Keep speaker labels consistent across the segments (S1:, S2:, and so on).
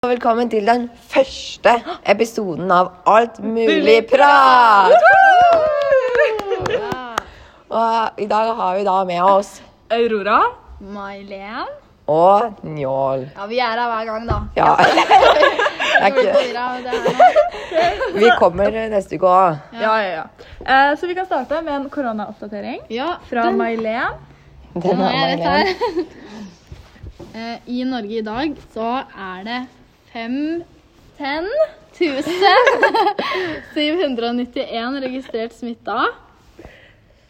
S1: Og velkommen til den første episoden av Alt mulig prat! Og i dag har vi da med oss
S2: Aurora.
S3: May-Len.
S1: og Njål.
S3: Ja, vi er her hver gang, da.
S1: Ja.
S3: Jeg
S1: er
S3: blir
S1: ikke-
S3: forvirra av det her nå.
S1: Vi kommer neste uke òg.
S2: Ja, ja, ja. Eh, så vi kan starte med en koronaoppdatering
S3: Ja,
S2: fra May-Len.
S3: nå er jeg rett her. Eh, I Norge i dag så er det 5 10 791 registrert smitta.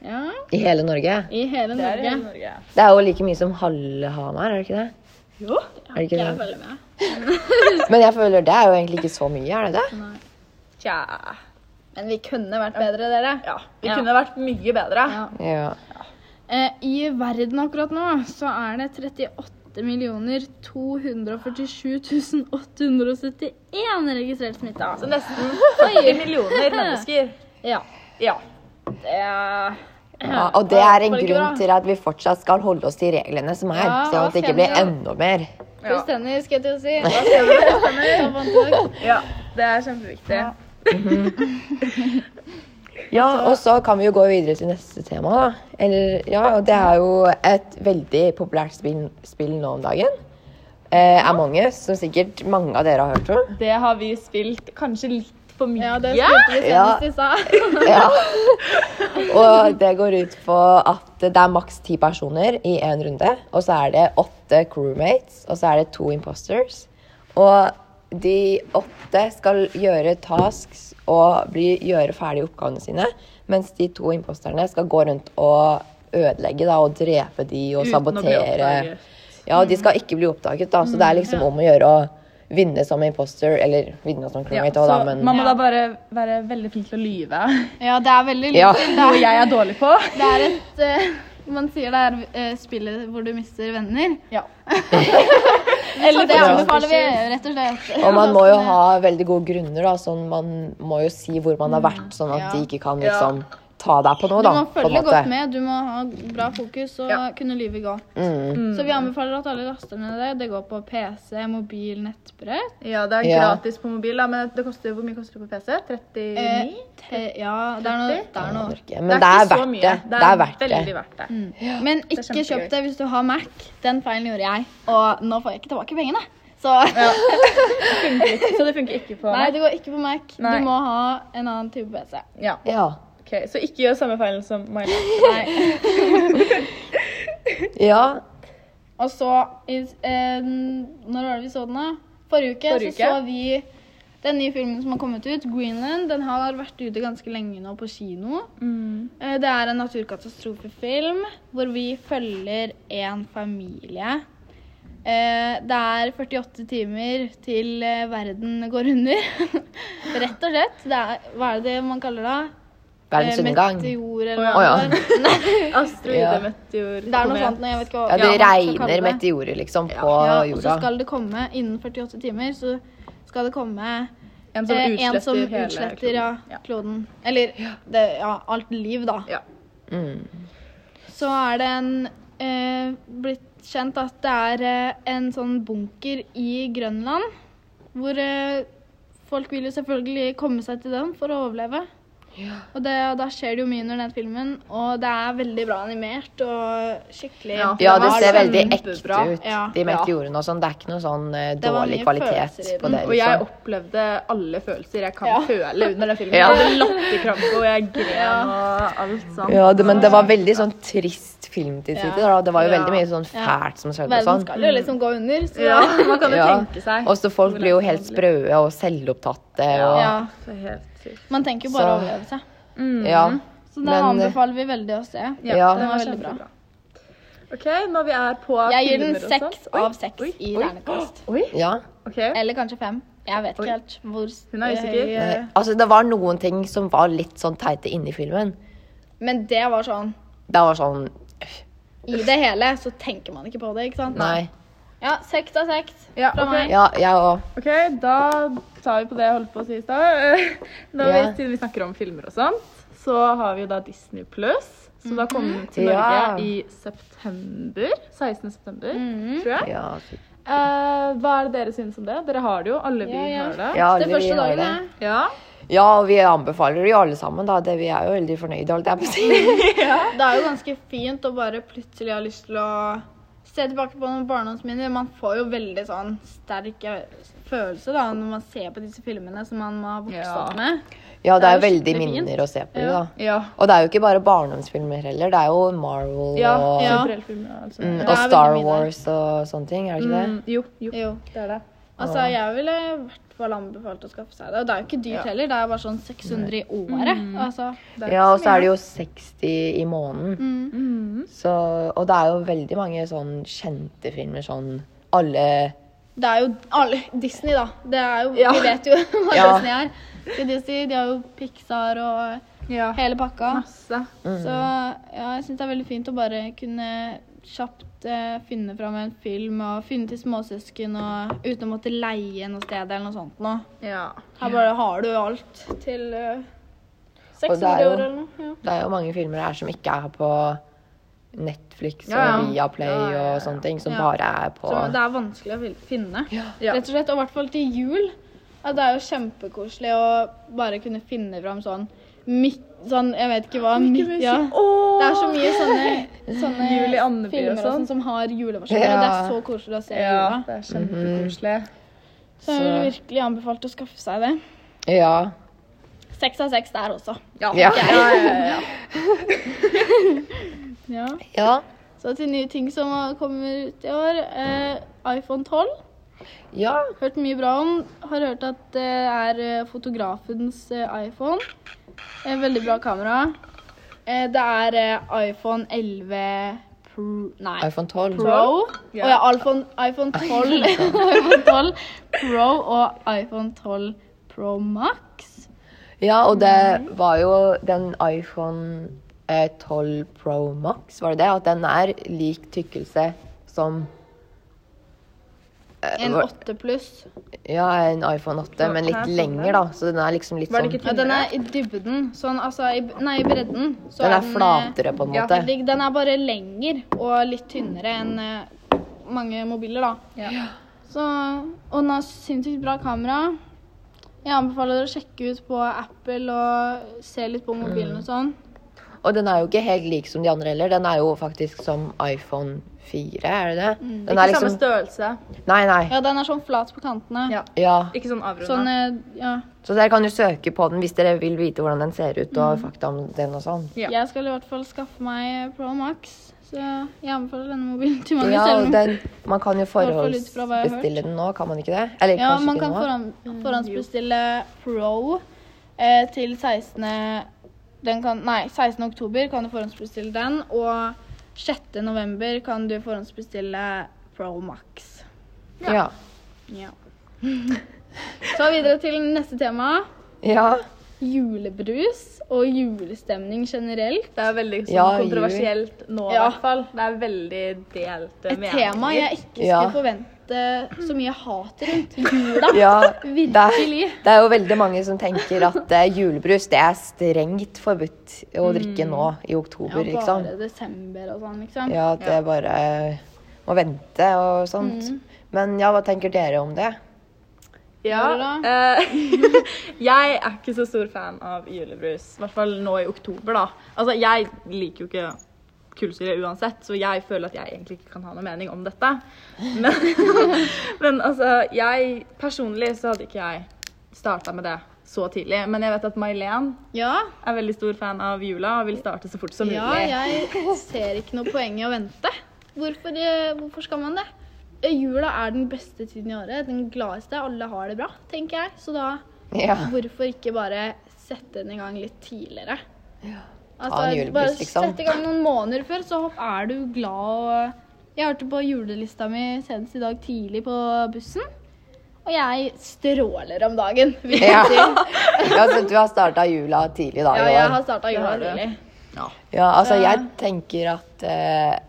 S3: Ja,
S1: I hele Norge?
S3: i hele Norge.
S2: Norge.
S1: Det er jo like mye som halve Hamar, er det ikke det?
S2: Jo.
S1: Er det ikke
S3: Jeg
S1: det?
S3: følger med.
S1: Men jeg føler det er jo egentlig ikke så mye, er det det?
S2: Tja.
S3: Men vi kunne vært bedre, dere.
S2: Ja. Vi
S3: Ja.
S2: kunne vært mye bedre.
S3: Ja.
S1: Ja.
S3: Eh, I verden akkurat nå så er det 38 millioner 247 871 registrert smitta.
S2: Så nesten 40 millioner mennesker.
S3: Ja.
S2: Ja.
S1: Ja, og det er en
S3: Var det ikke bra?
S1: grunn til at vi fortsatt skal holde oss til reglene som er,
S3: Ja,
S1: sånn at det ikke blir enda mer.
S3: Puss tenner, skal jeg til å si.
S2: ja. Det er kjempeviktig.
S3: Ja.
S1: Ja, og så kan vi jo gå videre til neste tema, da. Eller, ja, og det er jo et veldig populært spill, spill nå om dagen. Eh, Among us, som sikkert mange av dere har hørt om.
S2: Det har vi spilt kanskje litt for mye.
S3: Ja, det spilte vi
S1: Ja.
S3: senest i stad.
S1: Ja. Og det går ut på at det er maks ti personer i én runde. Og så er det åtte crewmates, og så er det to imposters. Og de åtte skal gjøre tasks og bli, gjøre ferdig oppgavene sine. Mens de to imposterne skal gå rundt og ødelegge da, og drepe de og
S2: Uten å bli
S1: sabotere.
S2: oppdaget. Mm,
S1: Ja, og de skal ikke bli oppdaget, da. Så det er liksom om å gjøre å vinne som imposter, eller vinne som
S2: Ja,
S1: crewmate òg,
S2: så
S1: da, men
S2: man må da bare være veldig flink til å lyve.
S3: Ja, det er veldig
S1: Ja.
S3: lurt.
S2: Noe jeg er dårlig på.
S3: Det er et eh, Man sier det er eh, spillet hvor du mister venner.
S2: Ja.
S3: Så det anbefaler vi, rett og slett.
S1: Og man må jo ha veldig gode grunner, da. Sånn man må jo si hvor man har vært, sånn at
S3: Ja.
S1: de ikke kan
S2: Ja.
S1: liksom ta deg på noe,
S3: Du
S1: da.
S3: må
S1: på en
S3: følge
S1: måte.
S3: godt med, du må ha bra fokus og
S2: Ja.
S3: kunne lyve godt.
S1: Mm.
S3: Så vi anbefaler at alle laster ned det. Det går på PC, mobil, nettbrett.
S2: Ja, det er
S1: Ja.
S2: gratis på mobil, da, men det koster, hvor mye koster det på PC? 39?
S3: Eh, te, ja, det er noe. Det er noe.
S1: Norge. Men det er,
S2: ikke så
S1: verdt
S2: mye.
S1: det. Det er verdt
S2: veldig
S1: det.
S2: verdt det.
S3: Mm. Men
S2: er
S3: ikke
S2: kjempegøy.
S3: kjøp det hvis du har Mac. Den feilen gjorde jeg. Og nå får jeg ikke tilbake pengene. Så
S2: Så det funker ikke på
S3: nei, det går ikke på Mac.
S2: Nei.
S3: Du må ha en annen type PC.
S2: Ja,
S1: Ja.
S2: ok. Så ikke gjør samme feilen som Maja.
S3: Nei.
S1: ja.
S3: Og så i, eh, Når var det vi så den, da? Forrige uke,
S2: Forrige uke.
S3: så så vi den nye filmen som har kommet ut, 'Greenland'. Den har vært ute ganske lenge nå på kino. Eh, Det er en naturkatastrofefilm hvor vi følger en familie. Eh, Det er 48 timer til eh, verden går under. Rett og slett. Det er, hva er det man kaller det?
S1: Verdens
S3: Eh,
S1: undergang.
S3: Meteor eller
S2: Å,
S3: hva
S1: ja.
S3: det er.
S2: Asteroide,
S1: Ja.
S2: meteor
S3: Det er noe
S2: komet.
S3: sånt. nå, Jeg vet ikke hva
S1: Ja, det
S3: hva man skal kalle
S1: regner
S3: det.
S1: meteorer liksom på
S3: Ja, og så
S1: jorda.
S3: skal det komme innen 48 timer, så skal det komme
S2: En som
S3: eh,
S2: utsletter,
S3: en som
S2: hele
S3: utsletter ja,
S2: kloden. Ja.
S3: kloden. Eller det, ja, alt liv, da.
S2: Ja.
S1: Mm.
S3: Så er det en eh, blitt kjent at det er eh, en sånn bunker i Grønland, hvor eh, folk vil jo selvfølgelig komme seg til den for å overleve. Og det, da skjer det jo mye under den filmen, og det er veldig bra animert og skikkelig
S2: Ja.
S1: Ja, det
S2: var
S1: ser veldig ekte ut,
S2: kjempebra.
S3: Ja.
S1: de meteorene og sånn. Det er ikke noe sånn eh,
S3: var
S1: dårlig
S3: mye
S1: kvalitet
S3: følelser i
S1: på det,
S2: Og jeg
S1: liksom.
S2: opplevde alle følelser jeg kan
S3: Ja.
S2: føle under den filmen.
S1: Ja.
S2: Jeg hadde latterkrampe, og jeg gren og alt sånt.
S1: Ja, det, men det var veldig sånn trist film til tider. da. Det var jo
S2: Ja.
S1: veldig mye sånn fælt som skjedde og
S3: Verden
S1: sånn.
S3: skal jo liksom gå under, så
S2: Ja, man kan jo
S1: Ja.
S2: tenke seg.
S1: Og så folk blir jo helt sprøe og selvopptatte og
S3: ja.
S2: Så helt sykt.
S3: Man tenker jo bare
S1: Så-
S3: overlevelse. Mm.
S1: Ja.
S3: Så da
S1: Men, eh,
S3: anbefaler vi veldig å se.
S2: Ja,
S1: Ja.
S2: den var
S3: Det var
S2: veldig bra. OK, når vi er på
S3: Jeg gir
S2: filmer
S3: den
S2: og
S3: seks
S2: sånn. Oi,
S3: av seks
S2: oi,
S3: i
S2: oi.
S3: Ternekast.
S2: Oi,
S1: ja.
S2: ok.
S3: Eller kanskje fem. Jeg vet
S2: Oi.
S3: ikke helt hvor
S2: Hun er usikker.
S3: høy,
S1: Nei,
S3: eh,
S1: Altså, det var noen ting som var litt sånn teite inni filmen.
S3: Men det var sånn
S1: Det var sånn
S3: I det hele så tenker man ikke på det, ikke sant?
S1: Nei.
S3: Ja, seks av seks
S2: Ja,
S3: fra
S2: ok.
S3: meg.
S1: Ja, jeg òg.
S2: Ok, da tar vi på det jeg holdt på å si i stad. Når vi,
S1: Ja.
S2: siden vi snakker om filmer og sånt, så har vi jo da Disney Pluss, som da
S3: Mhm.
S2: kom til Norge
S1: Ja.
S3: Mhm.
S2: i september. 16. september, tror jeg.
S1: Ja, fy-
S2: Eh, hva er det dere syns om det? Dere har det jo. Alle vi
S3: Ja, ja.
S2: har det.
S1: Ja, alle
S3: det første
S1: vi har
S3: dagen,
S1: det.
S3: ja.
S2: Ja.
S1: Ja, og vi anbefaler det jo alle sammen, da. Det, vi er jo veldig fornøyde, holdt jeg på å si.
S3: Det er jo ganske fint å bare plutselig ha lyst til å se tilbake på noen barndomsminner. Man får jo veldig sånn sterk følelse da, når man ser på disse filmene som man må ha vokst
S2: Ja.
S3: opp med.
S1: Ja, det er jo
S3: Det er jo
S1: veldig
S3: skikkelig fint.
S1: minner å se på,
S3: Ja.
S1: da.
S2: ja.
S1: Og det er jo ikke bare barndomsfilmer heller. Det er jo Marvel
S2: ja.
S1: og,
S3: ja.
S2: Superheltfilmer, altså.
S1: mm,
S3: Det
S1: og
S3: er
S1: Star
S3: veldig mye der.
S1: Wars og sånne ting, er det ikke det?
S2: Mm, jo, jo,
S3: Jo.
S2: det er det.
S3: Altså, jeg ville i hvert fall anbefalt å skaffe seg det. Og det er jo ikke dyrt heller. Det er bare sånn 600 i året.
S2: Mm.
S3: Altså,
S2: det
S1: Ja, og så er det jo 60 i måneden.
S3: mm.
S1: Så, og det er jo veldig mange sånn kjente filmer, sånn alle
S3: Det er jo alle Disney, da. Det er jo,
S2: Ja.
S3: Vi vet jo hva
S1: Ja.
S3: Disney er. Så Disney, de har jo Pixar og
S2: Ja.
S3: hele pakka.
S2: Masse.
S3: Så ja, jeg syns det er veldig fint å bare kunne kjapt eh, finne fram en film og finne til småsøsken og uten å måtte leie noe sted eller noe sånt nå.
S2: Ja.
S3: Her bare har du alt til eh,
S1: Og det
S3: 600
S1: er jo-
S3: år eller noe. Ja.
S1: Det er jo mange filmer her som ikke er på Netflix og
S2: Ja, ja.
S1: Viaplay
S2: Ja, ja, ja, ja.
S1: og sånne ting, som
S3: Ja.
S1: bare er på
S3: Så det er vanskelig å fin- finne.
S2: Ja.
S3: Rett og slett, og i hvert fall til jul. Ja, det er jo kjempekoselig å bare kunne finne fram sånn mik sånn, jeg vet ikke hva mik- ja. Det er så mye sånne, sånne
S2: Jul i Andeby og
S3: filmer og
S2: sånn.
S3: sånn som har juleversjoner, og det
S1: Ja.
S3: er så koselig å se i
S2: Ja,
S3: jula.
S2: det er kjempekoselig.
S3: Så jeg vil virkelig anbefalt å skaffe seg det.
S1: Ja.
S3: Seks av seks der også.
S1: Ja.
S2: ja, ja, ja.
S3: Ja.
S1: ja.
S3: Så til nye ting som kommer ut i år. Eh, iPhone 12.
S1: Ja.
S3: Hørt mye bra om. Har hørt at det er eh, fotografens eh, iPhone. Eh, Veldig bra kamera. Eh, Det er eh, iPhone 11 Pro Nei.
S1: iPhone 12.
S3: Pro. Å
S2: Ja.
S3: ja, iPhone, iPhone 12. iPhone 12 Pro og iPhone 12 Pro Max.
S1: Ja, og det var jo den iPhone eh, 12 Pro Max, var det det? At den er lik tykkelse som eh,
S3: En
S1: var-
S3: 8 pluss.
S1: Ja, en iPhone 8, men
S2: her
S1: litt
S2: sånn
S1: lenger,
S2: der.
S1: da. Så den er liksom litt
S2: Var
S1: sånn
S2: det
S1: Den
S2: ikke
S3: Ja, den er i dybden. Sånn altså i, Nei, i bredden. Så
S1: er flatere, på en
S2: ja,
S1: måte.
S3: eh, lik- Den er bare lengre og litt tynnere enn eh, mange mobiler, da.
S2: Ja.
S3: Så, og den har sinnssykt bra kamera. Jeg anbefaler dere å sjekke ut på Apple og se litt på mobilen og sånn.
S1: Og den er jo ikke helt lik som de andre heller. Den er jo faktisk som iPhone 4, er det det?
S3: Mm,
S1: Den
S2: Ikke
S1: er
S2: samme
S1: liksom
S2: størrelse.
S1: Nei, nei.
S3: Ja, den er sånn flat på kantene.
S2: Ja.
S1: Ja.
S2: Ikke sånn avrunda.
S3: Sånn, eh, ja.
S1: Så dere kan jo søke på den hvis dere vil vite hvordan den ser ut,
S3: Mm.
S1: og fakta om den og sånn.
S2: Ja.
S3: Jeg skal i hvert fall skaffe meg Pro Max, så jeg anbefaler denne mobilen til mange
S1: Ja,
S3: selv
S1: og
S3: om-
S1: den, man kan jo
S3: hvert fall ut fra hva jeg har
S1: forhåndsbestille den nå, kan man ikke det? Eller
S3: Ja,
S1: kanskje
S3: man
S1: ikke
S3: kan
S1: nå?
S3: forhånd, forhåndsbestille Pro eh, til 16. Den kan, nei, 16. oktober kan du forhåndsbestille den, og 6. november kan du forhåndsbestille Pro Max.
S1: Ja.
S3: Ja. Så videre til neste tema.
S1: Ja.
S3: Julebrus og julestemning generelt.
S2: Det er veldig sånn,
S1: Ja,
S2: kontroversielt nå, i
S3: Ja.
S2: hvert fall. Det er veldig eh, delte
S3: Et tema jeg ikke skulle
S1: Ja.
S3: forvente så mye hat rundt. Jula.
S1: ja. Det, er,
S3: Virkelig.
S1: det er jo veldig mange som tenker at eh, julebrus det er strengt forbudt å drikke nå i oktober,
S3: Mm. Ja,
S1: liksom.
S3: bare desember og sånn, liksom.
S1: Ja, at det bare eh, må vente og sånt.
S2: Mm.
S1: Men ja, hva tenker dere om det?
S2: Ja.
S3: Jula.
S2: eh, jeg er ikke så stor fan av julebrus. I hvert fall nå i oktober, da. Altså, jeg liker jo ikke kullsyre uansett, så jeg føler at jeg egentlig ikke kan ha noe mening om dette. Men, men altså, jeg personlig så hadde ikke jeg starta med det så tidlig. Men jeg vet at May-Len
S3: Ja,
S2: er veldig stor fan av jula og vil starte så fort som mulig.
S3: ja, jeg ser ikke noe poeng i å vente. Hvorfor, eh, hvorfor skal man det? Eh, Jula er den beste tiden i året, den gladeste. Alle har det bra, tenker jeg. Så da
S1: Ja.
S3: Hvorfor ikke bare sette den i gang litt tidligere? Altså,
S1: Ta en julebrus,
S3: bare
S1: liksom.
S3: Sett i gang noen måneder før, så hopp- er du glad og Jeg hørte på julelista mi senest i dag tidlig på bussen, og jeg stråler om dagen. vil jeg
S1: Ja.
S3: si.
S1: ja, så du har starta jula tidlig da
S3: ja,
S1: i
S3: jeg
S1: år?
S3: har starta jula
S2: har du.
S3: tidlig.
S1: Ja, altså
S3: Ja.
S1: jeg tenker at eh,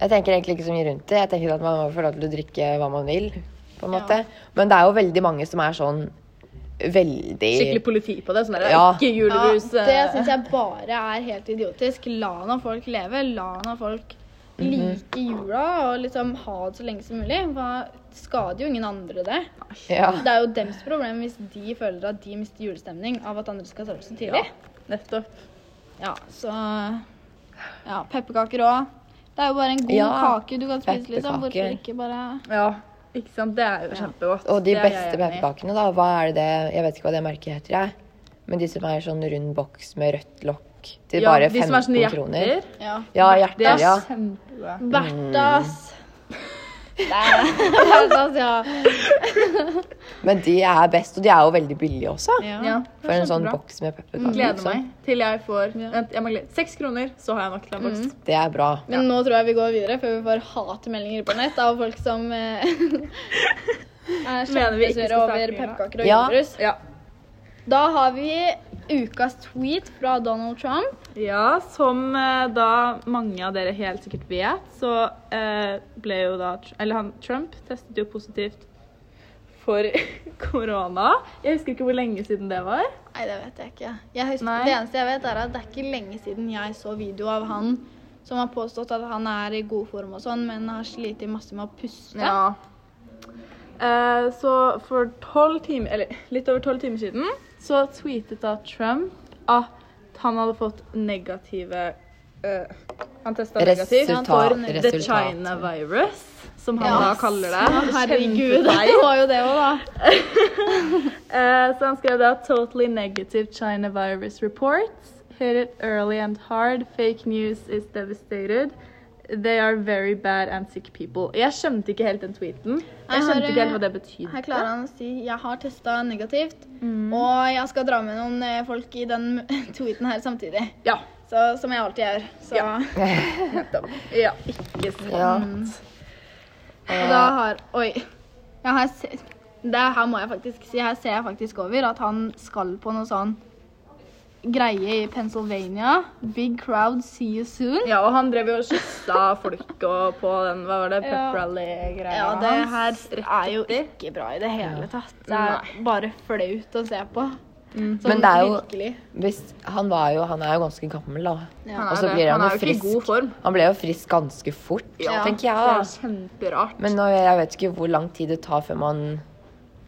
S1: Jeg tenker egentlig ikke så mye rundt det. Jeg tenker at man må få lov til å drikke hva man vil, på en måte. Men det er jo veldig mange som er sånn veldig
S2: Skikkelig politi på det. Sånn der,
S1: Ja.
S2: Ikke
S3: Ja,
S2: julebrus.
S3: det
S2: eh,
S3: syns jeg bare er helt idiotisk. La nå folk leve. La nå folk
S1: Mhm.
S3: like jula og liksom ha det så lenge som mulig. Hva skader jo ingen andre det?
S1: Ja.
S3: Det er jo dems problem hvis de føler at de mister julestemning av at andre skal starte så tidlig.
S2: Nettopp.
S3: Ja, så Ja, pepperkaker òg. Det er jo bare en god
S1: Ja,
S3: kake du kan spise, liksom. Hvorfor
S1: pepperkaker.
S3: ikke bare
S2: Ja, ikke sant? Det er jo kjempegodt.
S1: Og de
S2: Det er jeg
S1: beste
S2: enig i.
S1: pepperkakene, da, hva er det Jeg vet ikke hva det merket heter, jeg. Men de som er sånn rund boks med rødt lokk til
S2: Ja,
S1: bare
S2: de
S1: 15
S2: som er sånne
S1: kroner.
S2: hjerter.
S3: Ja.
S1: Ja,
S2: Det
S1: hjerter,
S2: er
S1: ja.
S2: kjempegode.
S1: Mm.
S3: Verdt ass. Verdt ass, ja.
S1: Men de er best, og de er jo veldig billige også.
S2: Ja,
S3: ja.
S2: det er
S1: For en sånn
S2: kjempebra. Mm.
S1: boks med pepperkaker.
S2: Gleder
S1: liksom.
S2: meg til jeg får
S3: Ja.
S2: Vent, jeg mangler seks kroner, så har jeg nok til en boks.
S1: Det er bra.
S3: Men nå tror jeg vi går videre før vi får hatemeldinger på nett av folk som eh, er
S2: Mener vi ikke skal
S3: kjempesure
S2: starte
S3: over
S2: jula.
S3: pepperkaker og
S1: Ja.
S3: julebrus.
S2: Ja.
S3: Da har vi ukas tweet fra Donald Trump.
S2: ja, som eh, da mange av dere helt sikkert vet, så eh, ble jo da Tr- Eller han Trump testet jo positivt for korona. Jeg husker ikke hvor lenge siden det var.
S3: Nei, det vet jeg ikke. Jeg husker,
S2: Nei.
S3: det eneste jeg vet, er at det er ikke lenge siden jeg så video av han som har påstått at han er i god form og sånn, men har slitt masse med å puste.
S2: Ja. Eh, så for 12 timer, eller litt over tolv timer siden, så tweetet da Trump at han hadde fått negative eh, Han testa negativt
S1: Resultat-
S2: for the
S1: resultat.
S2: China virus, som han
S3: Ja.
S2: da kaller det.
S3: Herregud, det
S2: Kjempefeil.
S3: var jo det òg, da.
S2: Eh, så han skrev da 'Totally negative China virus reports'. Hit it early and hard. Fake news is devastated. They are very bad and sick people. Jeg skjønte ikke helt den tweeten. Jeg
S3: Jeg har,
S2: skjønte ikke helt
S3: eh,
S2: hva det betydde.
S3: Her klarer han å si jeg har testa negativt,
S1: Mm.
S3: og jeg skal dra med noen eh, folk i den tweeten her samtidig.
S2: Ja.
S3: Så, som jeg alltid gjør. Så.
S2: ja. Ikke sant.
S1: Ja.
S3: Og da har Oi. Ja, her, se- det her må jeg faktisk si. Her ser jeg faktisk over at han skal på noe sånn greie i Pennsylvania. Big crowd, see you soon.
S2: Ja, og han drev jo og kyssa folk og på den hva var det, pep rally-greia
S3: Ja, det her
S2: hans.
S3: er jo ikke bra i det hele tatt. Det er bare flaut å se på. Sånn
S1: Mm. Men det er jo-
S3: virkelig.
S1: Hvis, han, var jo, han er jo ganske gammel, da.
S2: Han er
S1: Og så
S2: det.
S1: blir han
S2: Han er
S1: jo
S2: jo ikke i
S1: frisk.
S2: god form.
S1: Han ble jo frisk ganske fort,
S3: Ja.
S1: tenker jeg.
S2: Det
S1: da.
S2: er kjemperart.
S1: Men nå, jeg vet ikke hvor lang tid det tar før man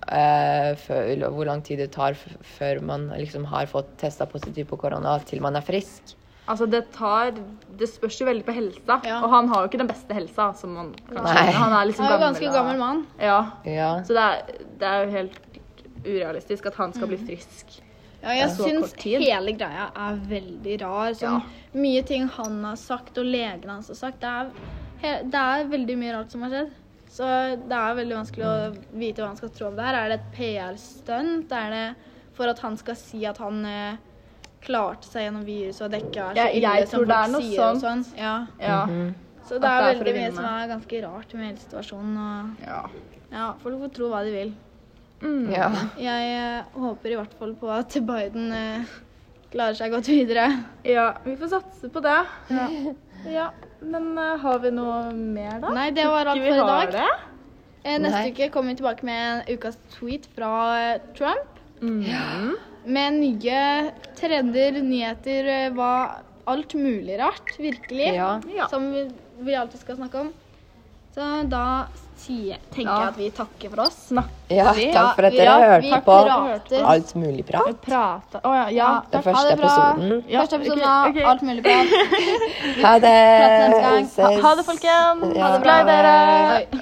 S1: eh, før, Hvor lang tid det tar f før man liksom har fått testa positiv på korona til man er frisk.
S2: Altså, det tar Det spørs jo veldig på helsa.
S3: Ja.
S2: Og han har jo ikke den beste helsa, som man kan
S1: Nei.
S2: skjønne. Han er liksom
S3: Han er jo
S2: gammel.
S3: ganske
S2: og-
S3: gammel mann.
S2: Ja.
S1: Ja.
S2: Så det er, det er jo helt urealistisk at han skal
S3: Mm.
S2: bli frisk.
S3: Ja, jeg
S2: så
S3: syns
S2: kort tid.
S3: hele greia er veldig rar. Sånn, Mye ting han har sagt, og legen hans har sagt. Det er, he- det er veldig mye rart som har skjedd. Så det er veldig vanskelig å vite hva han skal tro om det her. Er det et PR-stunt? Er det for at han skal si at han eh, klarte seg gjennom viruset og dekka så
S2: Jeg-
S3: ille
S2: jeg
S3: som
S2: tror det
S3: folk
S2: er noe
S3: sier og sånn? Ja.
S2: Ja.
S3: Så det er
S2: At det er for å
S3: veldig mye
S2: vinne.
S3: som er ganske rart med hele situasjonen. Og
S2: ja.
S3: ja, folk får tro hva de vil.
S2: Mm.
S1: ja.
S3: Jeg eh, håper i hvert fall på at Biden eh, klarer seg godt videre.
S2: Ja, vi får satse på det. Ja. Men eh, har vi noe mer, da?
S3: Nei, det var alt
S2: Ikke vi
S3: for i
S2: har
S3: dag.
S2: Det?
S3: Eh, Neste
S1: Nei.
S3: uke kommer vi tilbake med en ukas tweet fra eh, Trump.
S2: Mm.
S3: Med nye trender, nyheter, eh, hva alt mulig rart, virkelig.
S1: Ja.
S2: Ja.
S3: Som vi, vi alltid skal snakke om. Så da sier, tenker
S2: Ja.
S3: jeg at vi takker for oss.
S2: Snakk.
S1: ja, takk for at
S3: Ja,
S1: dere
S3: vi
S1: hørte på
S3: prater.
S1: alt mulig prat.
S2: Prate Å ja. ja.
S3: Ja.
S1: Den
S3: Ha
S1: første
S3: det bra.
S1: episoden.
S2: Ja,
S3: Første episode
S2: ok,
S3: av
S2: ok.
S3: Alt mulig bra.
S1: Ha det!
S3: Prates neste gang.
S1: Ses.
S2: Ha det, folkens.
S1: Ja,
S2: Ha det bra.
S1: ha det.
S2: dere.
S3: Oi.